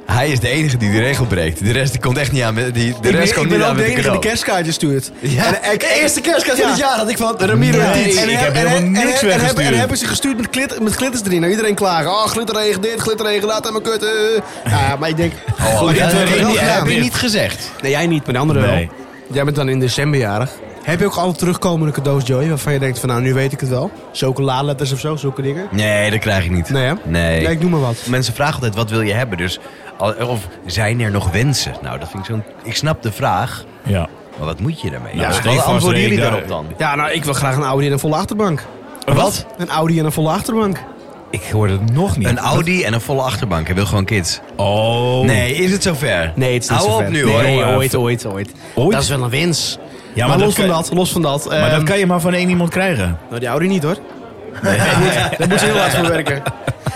S2: Hij is de enige die de regel breekt. De rest die komt echt niet aan. met- Die, de
S3: ik
S2: rest
S3: ben, ik
S2: komt
S3: ben
S2: niet
S3: ook
S2: aan
S3: de
S2: met de
S3: enige die
S2: cadeau.
S3: kerstkaartjes stuurt.
S2: Ja. Oh,
S3: En- eh, en-
S2: De eerste kerstkaart van
S3: Ja.
S2: het jaar had ik van Ramiro
S4: Nee,
S2: Dietz.
S4: ik
S3: en-
S4: heb
S3: en-
S4: helemaal
S3: en-
S4: niks
S3: en- en-
S4: weggestuurd.
S3: En, en hebben ze gestuurd met, klit, met glitters erin. Nou, iedereen klagen. Oh, glitterregen dit, glitterregen dat en mijn kut. eh. Ja, maar ik denk...
S2: Oh,
S3: goed,
S2: dat heb
S3: dat hebben
S2: ik
S3: we
S2: niet-
S3: wel
S2: heb
S3: gedaan.
S2: ik niet gezegd.
S3: Nee, jij niet, maar de anderen
S4: Nee.
S3: wel. Jij bent dan in december jarig. Heb je ook altijd terugkomende cadeaus, Joey? Waarvan je denkt van, nou, nu weet ik het wel. Chocoladeletters of zo, zulke dingen.
S2: Nee, dat krijg ik niet.
S3: Nee, hè?
S2: Nee.
S3: Ja, ik noem maar wat.
S2: Mensen vragen altijd, wat wil je hebben? Dus, al- of zijn er nog wensen? Nou, dat vind ik zo'n... Ik snap de vraag,
S4: Ja.
S2: maar wat moet je daarmee?
S4: Nou,
S2: wat
S4: steek vast,
S2: antwoorden jullie
S4: Rick,
S2: daarop
S4: daar-
S2: dan?
S3: Ja, nou, ik wil graag een Audi en een volle achterbank.
S2: Wat?
S3: Een Audi en een volle achterbank.
S4: Ik hoor het nog niet.
S2: Een Audi en een volle achterbank. Hij wil gewoon kids.
S4: Oh.
S2: Nee, is het zover?
S3: Nee, het is niet
S2: Hou
S3: zover.
S2: op nu,
S3: nee,
S2: hoor.
S4: hoor.
S3: ooit, ooit, ooit,
S4: Ooit?
S3: Dat is wel een wens.
S4: Ja,
S3: maar
S4: maar,
S3: los
S4: dat
S3: van
S4: kan,
S3: dat, los van dat.
S4: maar
S3: ehm,
S4: dat kan je maar van één iemand krijgen.
S3: Nou, die Audi niet hoor. Daar moet ze heel hard voor werken.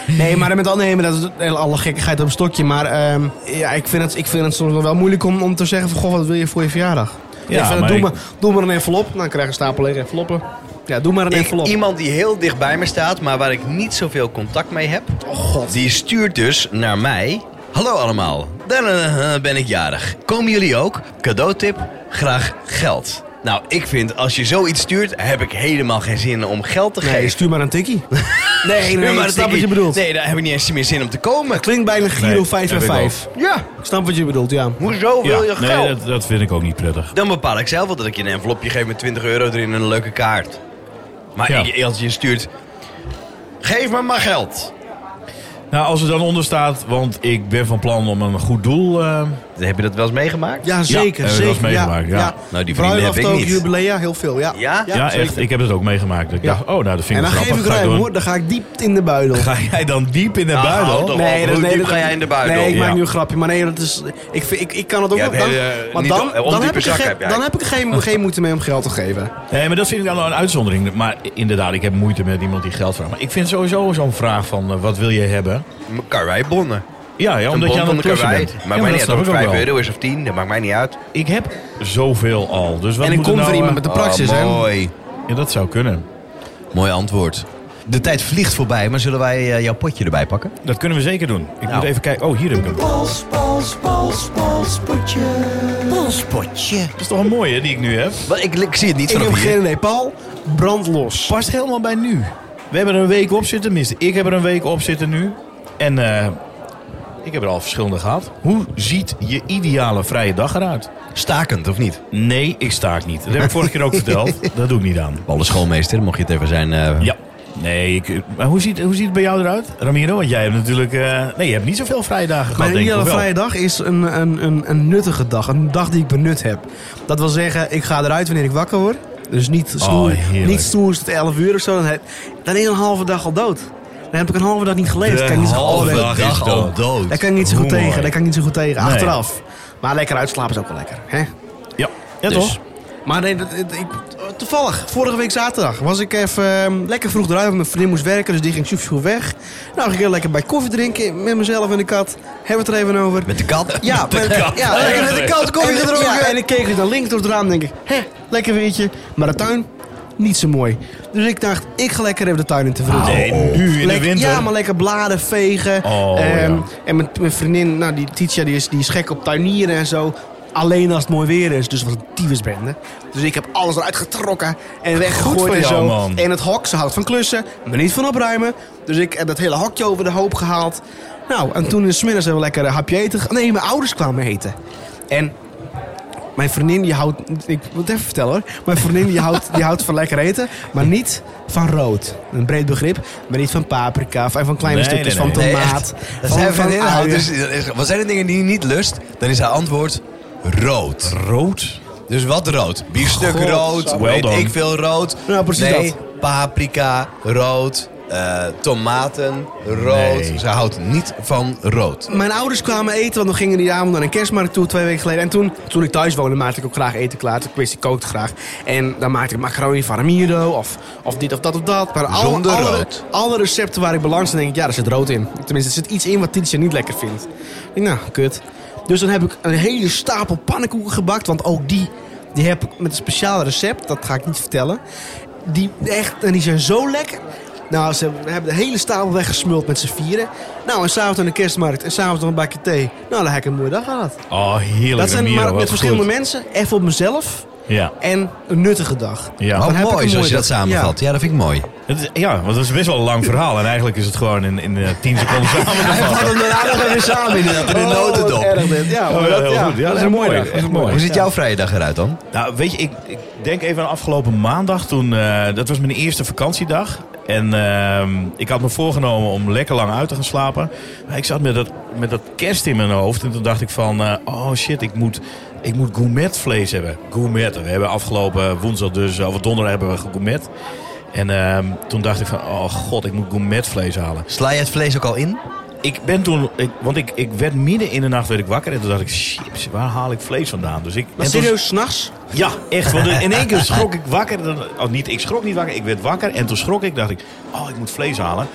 S3: Nee, maar met al nemen, dat is hele- alle gekkigheid op een stokje. Maar ehm, ja, ik, vind het, ik vind het soms nog wel moeilijk om, om te zeggen van... Goh, wat wil je voor je verjaardag?
S4: Ja,
S3: ik vind het,
S4: maar
S3: doe,
S4: ik-
S3: maar, doe maar een envelop. Dan krijg je een stapel lege enveloppen. Ja, doe maar een
S2: Ik,
S3: envelop.
S2: iemand die heel dicht bij me staat, maar waar ik niet zoveel contact mee heb,
S3: Oh,
S2: die stuurt dus naar mij. Hallo allemaal, dan eh, eh, ben ik jarig. Komen jullie ook? Cadeautip, graag geld. Nou, ik vind als je zoiets stuurt, heb ik helemaal geen zin om geld te
S3: Nee,
S2: geven.
S3: stuur eh, maar een tikkie. nee,
S2: Stuur
S3: nee, ik
S2: een
S3: snap wat je
S2: tikkie.
S3: bedoelt.
S2: Nee, daar heb ik niet eens meer zin om te komen.
S3: Klinkt bijna Giro
S4: Nee,
S3: 5 en
S4: heb ik
S3: 5.
S2: Ja,
S3: Ik snap wat je bedoelt, ja.
S2: hoezo wil je geld?
S4: nee, dat, dat vind ik ook niet prettig.
S2: Dan bepaal ik zelf wel dat ik je een envelopje geef met 20 euro erin en een leuke kaart. Maar
S4: Ja.
S2: ik- als je stuurt, geef me maar geld.
S4: Nou, als er dan onder staat, want ik ben van plan om een goed doel... eh,
S2: Heb je dat wel eens meegemaakt?
S3: Ja, zeker,
S4: heb ik wel
S3: zeker.
S4: eens meegemaakt, ja.
S2: Nou, die vrienden
S3: Bruiloft
S2: heb ik
S3: ook,
S2: niet.
S3: jubilea, heel veel, ja.
S2: Ja?
S4: ja,
S3: zeker.
S4: echt. Ik heb het ook meegemaakt. Ik
S3: Ja.
S4: dacht, oh, nou, dat vind
S3: En
S4: ik
S3: dan
S4: grappig.
S3: geef ik
S4: Ga
S3: ruim
S4: doen.
S3: hoor, dan ga ik diep in de buidel.
S4: Ga jij dan diep in de
S2: Ah,
S3: Nou,
S2: hou
S4: buidel?
S2: toch op. Hoe diep ga jij in de buidel?
S3: Nee, ik maak
S4: Ja.
S3: nu een grapje. Maar nee, dat is, ik, vind, ik, ik kan het ook
S2: Jij
S3: wel.
S2: hebt
S3: Dan,
S2: hele,
S3: maar
S2: niet- eh,
S3: dan,
S2: ondiepe
S3: dan, heb ik er
S2: zak
S3: geen-
S2: heb jij.
S3: dan heb ik er geen, geen moeite mee om geld te geven.
S4: Nee, maar dat vind ik dan wel een uitzondering. Maar inderdaad, ik heb moeite met iemand die geld vraagt. Maar ik vind sowieso zo'n vraag van, eh, wat wil je hebben?
S2: Karweibonnen.
S4: Ja, ja
S2: Een
S4: omdat je
S2: bon
S4: aan
S2: van
S4: het
S2: de
S4: klussen
S2: karwei.
S4: bent.
S2: Maakt
S4: Ja, maar
S2: mij
S4: dat
S2: niet uit of
S4: snap
S2: het
S4: ik ook
S2: 5
S4: wel.
S2: euro is of 10. Dat maakt mij niet uit.
S4: Ik heb zoveel al. Dus wat
S3: En ik
S4: moet
S3: kom
S4: er nou,
S3: voor iemand
S4: eh,
S3: met de praxis,
S2: Oh,
S3: hè?
S2: mooi.
S4: Ja, dat zou kunnen.
S2: Mooi antwoord. De tijd vliegt voorbij, maar zullen wij eh, jouw potje erbij pakken?
S4: Dat kunnen we zeker doen. Ik
S2: Nou.
S4: moet even kijken. Oh, hier heb ik hem.
S5: Pols, pols, pols, polspotje. Polspotje.
S4: Dat is toch een mooie die ik nu heb?
S2: Wat, ik, ik zie het niet
S3: Ik heb
S2: vanaf hier.
S3: geen idee. Paul, brand los.
S4: Past helemaal bij nu. We hebben er een week op zitten. Tenminste, ik heb er een week op zitten nu. En eh, ik heb er al verschillende gehad. Hoe ziet je ideale vrije dag eruit?
S2: Stakend, of niet?
S4: Nee, ik staak niet. Dat heb ik vorige keer ook verteld. Dat doe ik niet aan.
S2: Alle schoolmeester, mocht je het even zijn. eh,
S4: Ja. Nee, ik, maar hoe ziet, hoe ziet het bij jou eruit, Ramiro? Want jij hebt natuurlijk... eh, nee, je hebt niet zoveel vrije dagen gehad,
S3: Mijn
S4: denk ik.
S3: ideale
S4: of wel?
S3: vrije dag is een, een, een, een nuttige dag. Een dag die ik benut heb. Dat wil zeggen, ik ga eruit wanneer ik wakker word. Dus niet
S2: Oh,
S3: stoer,
S4: heerlijk.
S3: niet stoer is tot 11 uur of zo. Dan, heb- dan is een halve dag al dood. Dan heb ik een halve dag niet geleefd. Kan ik niet zo-
S2: halve
S3: Oh,
S2: dag is dood.
S3: Daar kan ik niet zo
S4: Hoe
S3: goed
S4: mooi.
S3: tegen. Daar kan ik niet zo goed tegen.
S4: Nee.
S3: Achteraf. Maar lekker uitslapen is ook wel lekker. Hè?
S4: Ja, ja
S2: Dus.
S4: toch?
S3: Maar nee, dat, dat- ik, toevallig, vorige week zaterdag was ik even ehm, lekker vroeg eruit. Want mijn vriendin moest werken, dus die ging super vroeg weg. Nou, ging ik heel lekker bij koffie drinken met mezelf en de kat. Hebben we het er even over.
S2: Met de kat?
S3: Ja, met, ja,
S2: Lekker
S3: en-
S2: met de kat koffie
S3: en-
S2: gedronken.
S3: ja, en ik keek dus naar links door het raam en denk ik, hè, lekker weertje. Maar de tuin, niet zo mooi. Dus ik dacht, ik ga lekker even de tuin in te vroeten.
S4: Nee, nu in de
S3: Lek-
S4: winter.
S3: Ja, maar lekker bladen vegen.
S4: Oh,
S3: Ehm,
S4: ja.
S3: En mijn, mijn vriendin, nou, die Titia, die is, die is gek op tuinieren en zo. Alleen als het mooi weer is. Dus wat een tyfusbende. Dus ik heb alles eruit getrokken en
S4: van
S3: weggegooid en
S4: jou,
S3: zo.
S4: man.
S3: En het hok, ze houdt van klussen, maar niet van opruimen. Dus ik heb dat hele hokje over de hoop gehaald. Nou, en toen in de smiddags hebben we lekker een hapje eten. ge- Nee, mijn ouders kwamen eten. En Mijn vriendin die houdt... Ik moet het even vertellen hoor. Mijn vriendin die houdt, die houdt van lekker eten, maar niet van rood. Een breed begrip, maar niet van paprika, van van kleine
S4: Nee,
S3: stukjes,
S4: nee, nee,
S3: van
S2: Nee,
S3: tomaat.
S2: echt. Dat
S3: van,
S2: zijn van
S3: van
S2: inhoud.
S3: uien.
S2: Dus, er is- wat zijn de dingen die je niet lust? Dan is haar antwoord rood.
S4: Rood?
S2: Dus wat rood? Biefstuk
S3: God,
S2: rood,
S4: zo.
S2: weet
S4: Wel dan.
S2: ik veel rood.
S3: Ja, precies
S2: nee,
S3: dat.
S2: paprika rood, eh, tomaten rood.
S4: Nee.
S2: Ze houdt niet van rood.
S3: Mijn ouders kwamen eten, want we gingen die avond naar een kerstmarkt toe twee weken geleden. En toen, toen ik thuis woonde, maakte ik ook graag eten klaar. Dus Ik wist, ik kookte graag. En dan maakte ik macaroni van Ramiro, of, of dit of dat of dat. Maar al-
S2: Zonder
S3: alle,
S2: rood.
S3: Alle recepten waar ik belang in, denk ik, ja, daar zit rood in. Tenminste, er zit iets in wat Tietje niet lekker vindt. Ik denk, nou, kut. Dus dan heb ik een hele stapel pannenkoeken gebakt, want ook die, die heb ik met een speciaal recept. Dat ga ik niet vertellen. Die, echt, en die zijn zo lekker. Nou, ze hebben de hele stapel weggesmuld met z'n vieren. Nou, en s'avonds aan de kerstmarkt en s'avonds nog een bakje thee. Nou, dan heb ik een mooie dag gehad.
S4: Oh, heerlijk.
S3: Dat zijn
S4: Ramiro,
S3: maar
S4: wat
S3: met verschillende
S4: goed.
S3: mensen. Even op mezelf.
S4: Ja.
S3: En een nuttige dag.
S4: Ja.
S3: Dan
S2: Oh,
S3: heb ik
S2: mooi
S3: een
S2: zoals
S3: mooie
S2: je dat
S3: dag.
S2: samenvat. Ja. dat vind ik mooi.
S4: Het is- ja, want dat is best wel een lang verhaal. En eigenlijk is het gewoon in, in eh, 10 seconden samengevat.
S2: Hadden we daarna nog even samen inderdaad in de
S3: Oh, wat
S2: notendop.
S3: erg dit. Ja,
S4: Oh,
S3: maar
S4: ja,
S3: dat,
S4: heel
S3: ja,
S4: goed. Ja,
S3: dat is
S4: ja,
S3: een mooie
S4: mooi.
S3: dag.
S4: Echt mooi.
S2: Hoe ziet jouw vrije dag eruit dan?
S4: Nou, weet je, ik, ik denk even aan afgelopen maandag. Toen, eh, dat was mijn eerste vakantiedag. En ehm, ik had me voorgenomen om lekker lang uit te gaan slapen. Maar ik zat met dat, met dat kerst in mijn hoofd. En toen dacht ik van, eh, oh shit, ik moet, ik moet gourmetvlees hebben. Gourmetten. We hebben afgelopen woensdag dus, of donderdag hebben we gegourmet. En ehm, toen dacht ik van, oh god, ik moet gourmetvlees halen.
S2: Sla je het vlees ook al in?
S4: Ik ben toen, ik, want ik, ik werd midden in de nacht werd ik wakker. En toen dacht ik, chips, waar haal ik vlees vandaan? Dus ik,
S3: Maar
S4: en toen-
S3: serieus, s'nachts?
S4: ja, echt. Want in één keer schrok ik wakker. Dan- Oh, niet, ik schrok niet wakker, ik werd wakker. En toen schrok ik, dacht ik, oh, ik moet vlees halen.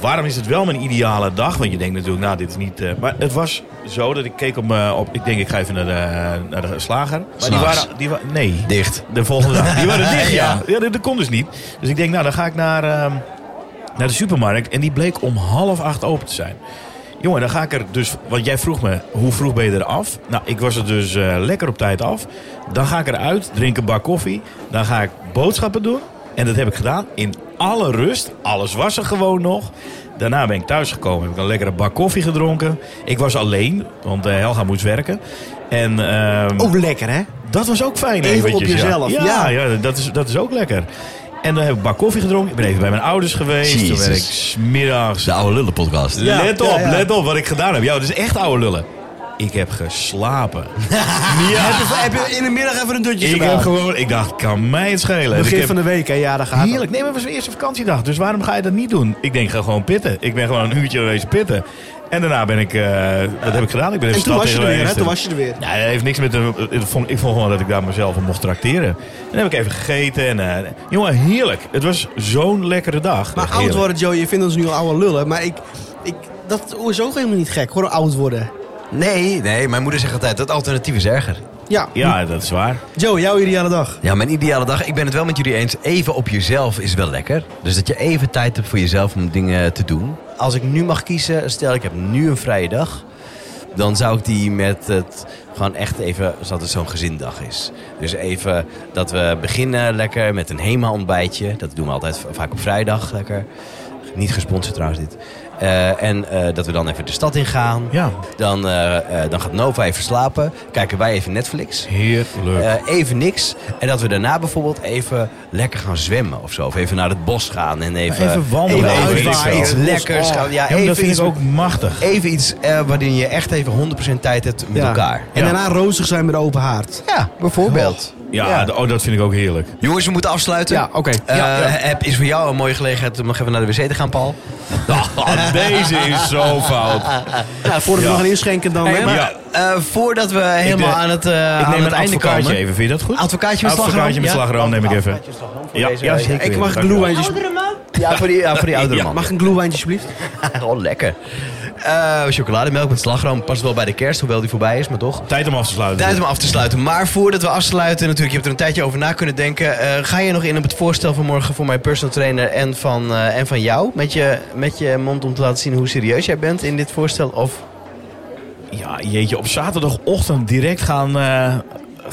S4: Waarom is het wel mijn ideale dag? Want je denkt natuurlijk, nou, dit is niet... eh, maar het was zo dat ik keek op, me op ik denk, ik ga even naar de, eh, naar de slager. Maar die
S2: S'nachts.
S4: waren, die wa- nee,
S2: Dicht.
S4: de volgende dag. Die waren dicht, ja.
S2: Ja.
S4: Ja, dat, dat kon dus niet. Dus ik denk, nou, dan ga ik naar, ehm, naar de supermarkt. En die bleek om half acht open te zijn. Jongen, dan ga ik er dus... Want jij vroeg me, hoe vroeg ben je er af? Nou, ik was er dus eh, lekker op tijd af. Dan ga ik eruit, drink een bak koffie. Dan ga ik boodschappen doen. En dat heb ik gedaan in alle rust. Alles was er gewoon nog. Daarna ben ik thuisgekomen. Heb ik een lekkere bak koffie gedronken. Ik was alleen, want eh, Helga moest werken. En, ehm,
S3: Oh, lekker hè?
S4: dat was ook fijn.
S3: Even op
S4: eventjes, ja.
S3: jezelf,
S4: Ja, ja.
S3: ja.
S4: dat, is, dat is ook lekker. En dan heb ik een bak koffie gedronken. Ik ben even bij mijn ouders geweest. Toen ben ik
S2: Jezus.
S4: smiddags.
S2: De oude lullenpodcast.
S3: Ja,
S4: let op,
S3: ja, ja.
S4: let op wat ik gedaan heb. Ja, dit is echt oude lullen. Ik heb geslapen. ja.
S3: Heb je in de middag even een dutje
S4: Ik
S3: gedaan?
S4: heb gewoon, ik dacht, kan mij het schelen. Dus Ik
S3: Begin
S4: heb-
S3: van de week, hè? Ja, daar gaat het.
S4: Heerlijk. Nee, maar het was mijn eerste vakantiedag. Dus waarom ga je dat niet doen? Ik denk, ga gewoon pitten. Ik ben gewoon een uurtje wezen pitten. En daarna ben ik... eh wat heb ik gedaan? Ik ben even
S3: En toen
S4: stad
S3: was je er weer, hè?
S4: ingeweest.
S3: Toen was je er weer.
S4: Nou, dat heeft niks met de. Ik vond, ik vond gewoon dat ik daar mezelf op mocht tracteren. En dan heb ik even gegeten. En, eh, jongen, heerlijk. Het was zo'n lekkere dag.
S3: Maar
S4: Heerlijk.
S3: oud worden, Joe, je vindt ons nu al oude lullen. Maar ik, ik, dat is ook helemaal niet gek, hoor, oud worden.
S2: Nee, nee, mijn moeder zegt altijd, dat alternatief is erger.
S3: Ja,
S4: Ja, dat is waar.
S3: Joe, jouw ideale dag.
S2: Ja, mijn ideale dag, ik ben het wel met jullie eens. Even op jezelf is wel lekker. Dus dat je even tijd hebt voor jezelf om dingen te doen. Als ik nu mag kiezen, stel ik heb nu een vrije dag. Dan zou ik die met het gewoon echt even, zodat het zo'n gezindag is. Dus even dat we beginnen lekker met een HEMA-ontbijtje. Dat doen we altijd v- vaak op vrijdag lekker. Niet gesponsord trouwens dit. Eh, en eh, dat we dan even de stad ingaan.
S4: Ja.
S2: Dan, eh, eh, dan gaat Nova even slapen. Kijken wij even Netflix.
S4: Heerlijk.
S2: Eh, even niks. En dat we daarna bijvoorbeeld even lekker gaan zwemmen of zo. Of even naar het bos gaan en even...
S4: Even wandelen,
S2: Even,
S4: weet ik
S2: iets-
S4: veel.
S2: iets lekkers gaan. Ja,
S4: Ja, maar
S2: even
S4: dat vind
S2: iets,
S4: ik ook machtig.
S2: even iets eh, waarin je echt even 100% tijd hebt met
S3: Ja.
S2: elkaar.
S3: En
S4: Ja.
S3: daarna rozig zijn met open haard.
S2: Ja, bijvoorbeeld.
S4: Ja,
S2: Ja.
S4: d- Oh, dat vind ik ook heerlijk.
S2: Jongens, we moeten afsluiten.
S3: Ja, oké.
S2: Eh,
S3: Ja, ja.
S2: Heb is voor jou een mooie gelegenheid om nog even naar de wc te gaan, Paul.
S4: Ah, deze is zo fout.
S2: Ah,
S3: Ja, voordat
S4: Ja.
S3: we nog gaan inschenken dan,
S2: Hey,
S3: hè?
S2: maar,
S4: Oh, Ja.
S2: eh, voordat we helemaal
S4: eh,
S2: aan het, eh
S4: ik
S2: aan
S4: neem
S2: het
S4: een
S2: einde
S4: advocaatje
S2: komen...
S4: even. Vind je dat goed?
S2: Advocaatje met slagroom?
S4: Advocaatje met
S2: Ja.
S4: slagroom neem ik even. Ja, ja, zeker.
S3: Ik mag
S4: Dank je wel.
S3: glühweintjes...
S1: Oudere man?
S2: Ja, voor die, ja, voor die oudere
S4: Ja,
S2: man.
S3: Mag ik een glühweintje, alsjeblieft?
S2: Oh, lekker. Eh, chocolademelk met slagroom past wel bij de kerst, hoewel die voorbij is, maar toch.
S4: Tijd om af te sluiten.
S2: Tijd om af te sluiten. Maar voordat we afsluiten, natuurlijk, je hebt er een tijdje over na kunnen denken. Eh, ga je nog in op het voorstel van morgen voor mijn personal trainer en van, eh, en van jou? Met je, met je mond om te laten zien hoe serieus jij bent in dit voorstel? Of
S4: Ja, jeetje. Op zaterdagochtend direct gaan, eh, gaan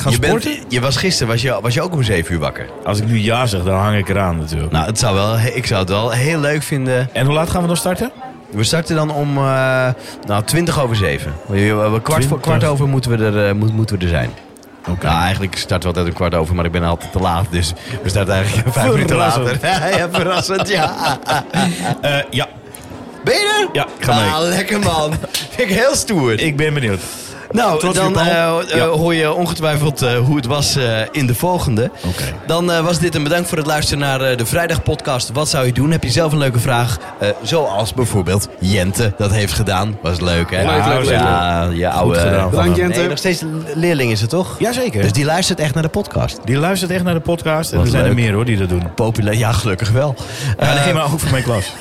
S2: je,
S4: sporten?
S2: je was gisteren was je, was je ook om 7 uur wakker.
S4: Als ik nu ja zeg, dan hang ik eraan natuurlijk.
S2: Nou, het zou wel, ik zou het wel heel leuk vinden.
S4: En hoe laat gaan we dan starten?
S2: We starten dan om eh nou, 20 over 7. We- we- we- Kwart, voor,
S4: 20.
S2: kwart over moeten we, er, eh, moet- moeten we er zijn. Nou, eigenlijk start wel altijd een kwart over, maar ik ben altijd te laat. Dus we starten eigenlijk vijf minuten later.
S4: Verrassend.
S2: ja, verrassend, ja.
S4: Eh, ja,
S2: Ben je er?
S4: Ja, ik ga mee.
S2: Ah, lekker man. Vind ik heel stoer.
S4: ik ben benieuwd.
S2: Nou,
S4: Trots
S2: dan
S4: op je bal.
S2: eh, eh,
S4: Ja.
S2: hoor je ongetwijfeld eh, hoe het was eh, in de volgende.
S4: Oké.
S2: Dan eh, was dit een bedankt voor het luisteren naar eh, de vrijdagpodcast. Wat zou je doen? Heb je zelf een leuke vraag? Eh, zoals bijvoorbeeld Jente dat heeft gedaan. Was leuk, hè? Nou,
S3: Leuk, leuk, leuk.
S2: Ja, je oude...
S4: Goed gedaan.
S3: Bedankt,
S4: Van,
S3: Jente.
S2: Nee, nog steeds een leerling is het, toch?
S4: Jazeker.
S2: eh, Dus die luistert echt naar de podcast.
S4: Die luistert echt naar de podcast. En
S2: Wat
S4: er zijn er
S2: leuk.
S4: meer hoor die dat doen.
S2: Populair, ja, gelukkig wel.
S4: Ja,
S2: Eh,
S4: nee, maar ook voor mijn klas.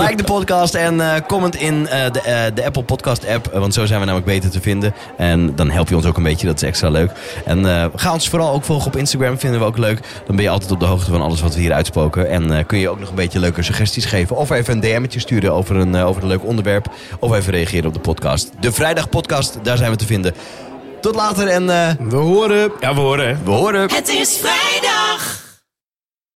S2: Like de podcast en eh, comment in eh, de, eh, de Apple Podcast app. eh, want zo zijn we namelijk beter te vinden. En dan help je ons ook een beetje. Dat is extra leuk. En eh, ga ons vooral ook volgen op Instagram. Vinden we ook leuk. Dan ben je altijd op de hoogte van alles wat we hier uitspoken. En eh, kun je ook nog een beetje leuke suggesties geven. Of even een DM'tje sturen over een, eh, over een leuk onderwerp. Of even reageren op de podcast. De Vrijdag Podcast, daar zijn we te vinden. Tot later en eh,
S3: We horen.
S4: Ja, we horen hè.
S2: we horen.
S1: Het is vrijdag.